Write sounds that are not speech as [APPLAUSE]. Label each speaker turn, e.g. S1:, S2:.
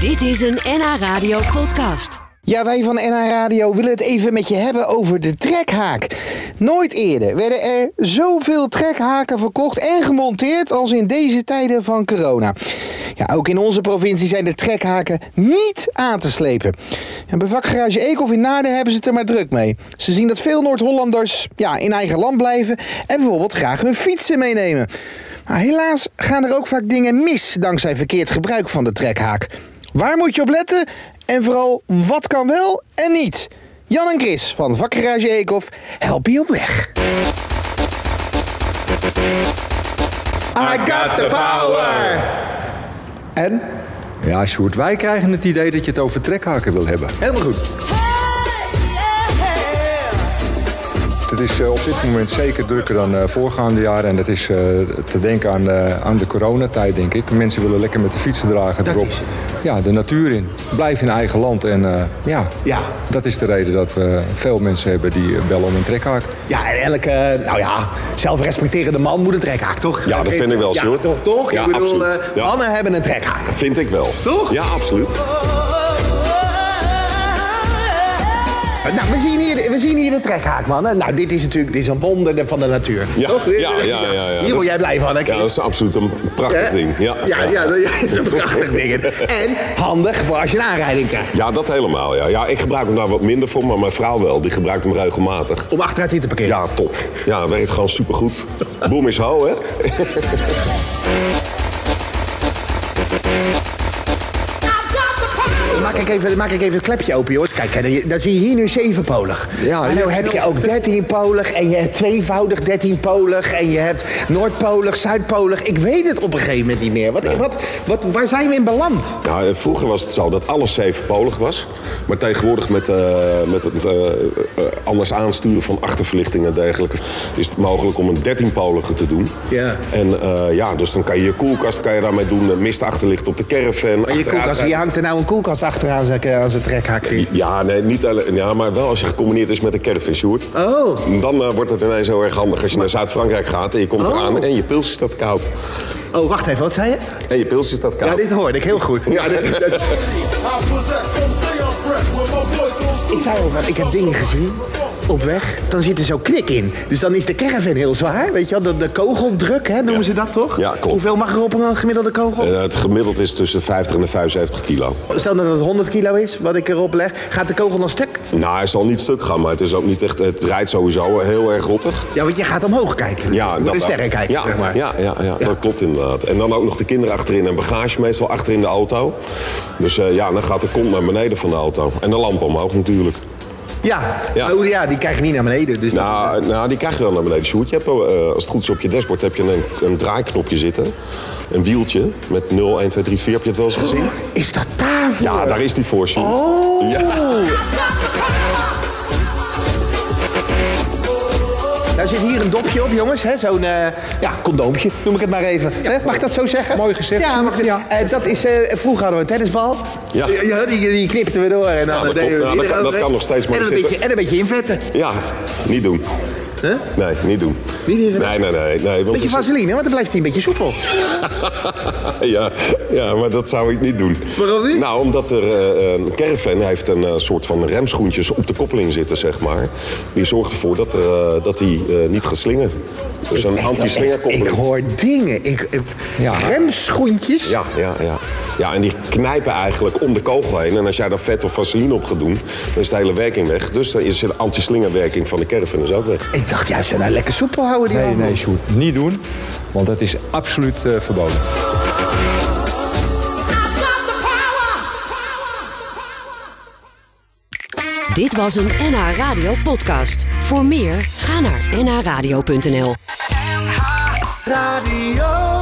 S1: Dit is een NH Radio podcast.
S2: Ja, wij van NH Radio willen het even met je hebben over de trekhaak. Nooit eerder werden er zoveel trekhaken verkocht en gemonteerd als in deze tijden van corona. Ja, ook in onze provincie zijn de trekhaken niet aan te slepen. En bij vakgarage Eekhof in Naarden hebben ze het er maar druk mee. Ze zien dat veel Noord-Hollanders ja, in eigen land blijven en bijvoorbeeld graag hun fietsen meenemen. Maar helaas gaan er ook vaak dingen mis dankzij verkeerd gebruik van de trekhaak. Waar moet je op letten? En vooral, wat kan wel en niet? Jan en Chris van Vakgarage Eekhof helpen je op weg. I got the power! En?
S3: Ja, Sjoerd, wij krijgen het idee dat je het over trekhaken wil hebben.
S2: Helemaal goed.
S3: Het is eh, op dit moment zeker drukker dan eh, voorgaande jaren. En dat is eh, te denken aan, eh, aan de coronatijd, denk ik. Mensen willen lekker met de fietsen dragen erop.
S2: is het.
S3: Ja, de natuur in. Blijf in eigen land. En eh, ja,
S2: Ja.
S3: dat is de reden dat we veel mensen hebben die eh, bellen om een trekhaak.
S2: Ja, en elke, nou ja, zelfrespecterende man moet een trekhaak, toch?
S4: Ja, dat vind ik wel, Sjoerd.
S2: Ja, toch, toch?
S4: Ja,
S2: ik bedoel,
S4: absoluut.
S2: eh,
S4: Ja.
S2: mannen hebben een trekhaak.
S4: Vind ik wel.
S2: Toch?
S4: Ja, absoluut.
S2: Nou, we zien hier, we zien hier de trekhaak, man. Nou, dit is natuurlijk dit is een wonder van de natuur.
S4: Ja,
S2: toch?
S4: ja, ja, ja, ja.
S2: Hier word jij blij van, hè,
S4: Ja,
S2: Chris?
S4: dat is absoluut een prachtig
S2: Hè?
S4: ding. Ja.
S2: Ja, ja, dat is een prachtig ding. En handig voor als je een aanrijding krijgt.
S4: Ja, dat helemaal. Ja. ja, ik gebruik hem daar wat minder voor, maar mijn vrouw wel. Die gebruikt hem regelmatig.
S2: Om achteruit in te parkeren.
S4: Ja, top. Ja, werkt gewoon supergoed. Boom is ho, hè?
S2: Dan Dus Maak ik, even, dan maak ik even het klepje open, jongens. Kijk, hè, dan, dan zie je hier nu zevenpolig.
S3: Ja,
S2: maar
S3: ja.
S2: dan heb je ook dertienpolig en je hebt tweevoudig dertienpolig... en je hebt noordpolig, zuidpolig. Ik weet het op een gegeven moment niet meer. Wat, wat, wat, waar zijn we in beland?
S4: Ja, en vroeger was het zo dat alles zevenpolig was. Maar tegenwoordig met, eh, met het eh, eh, anders aansturen van achterverlichting en dergelijke... is het mogelijk om een dertienpolige te doen.
S2: Ja.
S4: En eh, ja, dus dan kan je je koelkast kan je daarmee doen. eh, Mist achterlicht op de caravan.
S2: Maar je,
S4: achteruit-
S2: koelkast, je hangt er nou een koelkast achteraan zeg, eh, als een trekhaak. Chris.
S4: Ja, nee, niet alleen, ja, maar wel als je gecombineerd is met een caravan, Sjoerd.
S2: Oh.
S4: Dan eh, wordt het ineens heel erg handig als je naar Zuid-Frankrijk gaat en je komt eraan en je pils is dat koud.
S2: Oh, wacht even, wat zei je?
S4: En je pils is dat koud.
S2: Ja, dit hoorde ik heel goed. Ja, dit- dit- [LAUGHS] Ik zei al van, ik heb dingen gezien op weg, dan zit er zo knik in. Dus dan is de caravan heel zwaar, weet je wel. De, de kogeldruk, hè, noemen
S4: Ja.
S2: ze dat toch?
S4: Ja, klopt.
S2: Hoeveel mag er op een gemiddelde kogel?
S4: Eh, het gemiddeld is tussen 50 en 75 kilo.
S2: Stel dat het 100 kilo is, wat ik erop leg. Gaat de kogel dan stuk?
S4: Nou, hij zal niet stuk gaan, maar het, is ook niet echt, het rijdt sowieso heel erg rottig.
S2: Ja, want je gaat omhoog kijken.
S4: Ja,
S2: Door de
S4: wel.
S2: sterren kijken,
S4: ja,
S2: zeg maar.
S4: Ja, ja, ja, dat klopt inderdaad. En dan ook nog de kinderen achterin en bagage meestal achter in de auto. Dus eh, ja, dan gaat de kont naar beneden van de auto. En de lamp omhoog natuurlijk.
S2: Ja,
S4: Ja.
S2: maar hoe- ja, die kijken niet naar beneden. Dus
S4: Nou, nou, die krijg je wel naar beneden. Sjoerd, je hebt, eh, als het goed is op je dashboard heb je een, een draaiknopje zitten. Een wieltje met 0, 1, 2, 3, 4. Heb je het wel eens gezien?
S2: Is dat daarvoor?
S4: Ja, daar is die voor, Sjoerd.
S2: Oh!
S4: Ja.
S2: Nou zit hier een dopje op, jongens. Hè? Zo'n eh, ja, condoompje, noem ik het maar even. Hè? Mag ik dat zo zeggen?
S3: Mooi gezegd,
S2: Ja,
S3: Sjoerd.
S2: mag ik-
S3: Ja.
S2: eh, dat is, eh, vroeger hadden we een tennisbal.
S4: Ja.
S2: die, die knipten we door. En dan
S4: Ja, dat
S2: deden we
S4: klopt. Ja,
S2: die
S4: dat kan-
S2: eroverheen.
S4: dat kan nog steeds, maar
S2: en
S4: er
S2: een, beetje,
S4: zitten-
S2: en een beetje invetten.
S4: Ja, niet doen.
S2: Hè?
S4: Nee, niet doen.
S2: Niet doen?
S4: Nee, nee, nee. nee want
S2: Beetje
S4: er zit-
S2: vaseline, want dan blijft hij een beetje soepel.
S4: [LAUGHS] ja, ja, maar dat zou ik niet doen.
S2: Waarom niet?
S4: Nou, omdat er eh, een caravan heeft een eh, soort van remschoentjes op de koppeling zitten, zeg maar. Die zorgt ervoor dat, eh, dat die eh, niet gaat slingen. Dus een
S2: Ik
S4: anti-slingerkoppeling.
S2: hoor dingen. Ik, eh,
S3: Ja.
S2: Remschoentjes.
S4: Ja, ja, ja. Ja, en die knijpen eigenlijk om de kogel heen. En als jij daar vet of vaseline op gaat doen, dan is de hele werking weg. Dus dan is de anti-slingerwerking van de caravan dus ook weg.
S2: Ik dacht juist, nou lekker soepel houden die
S3: Nee,
S2: handen.
S3: nee, Sjoerd, niet doen. Want dat is absoluut eh, verboden.
S1: Dit was een NH Radio podcast. Voor meer, ga naar nhradio.nl.
S5: NH Radio.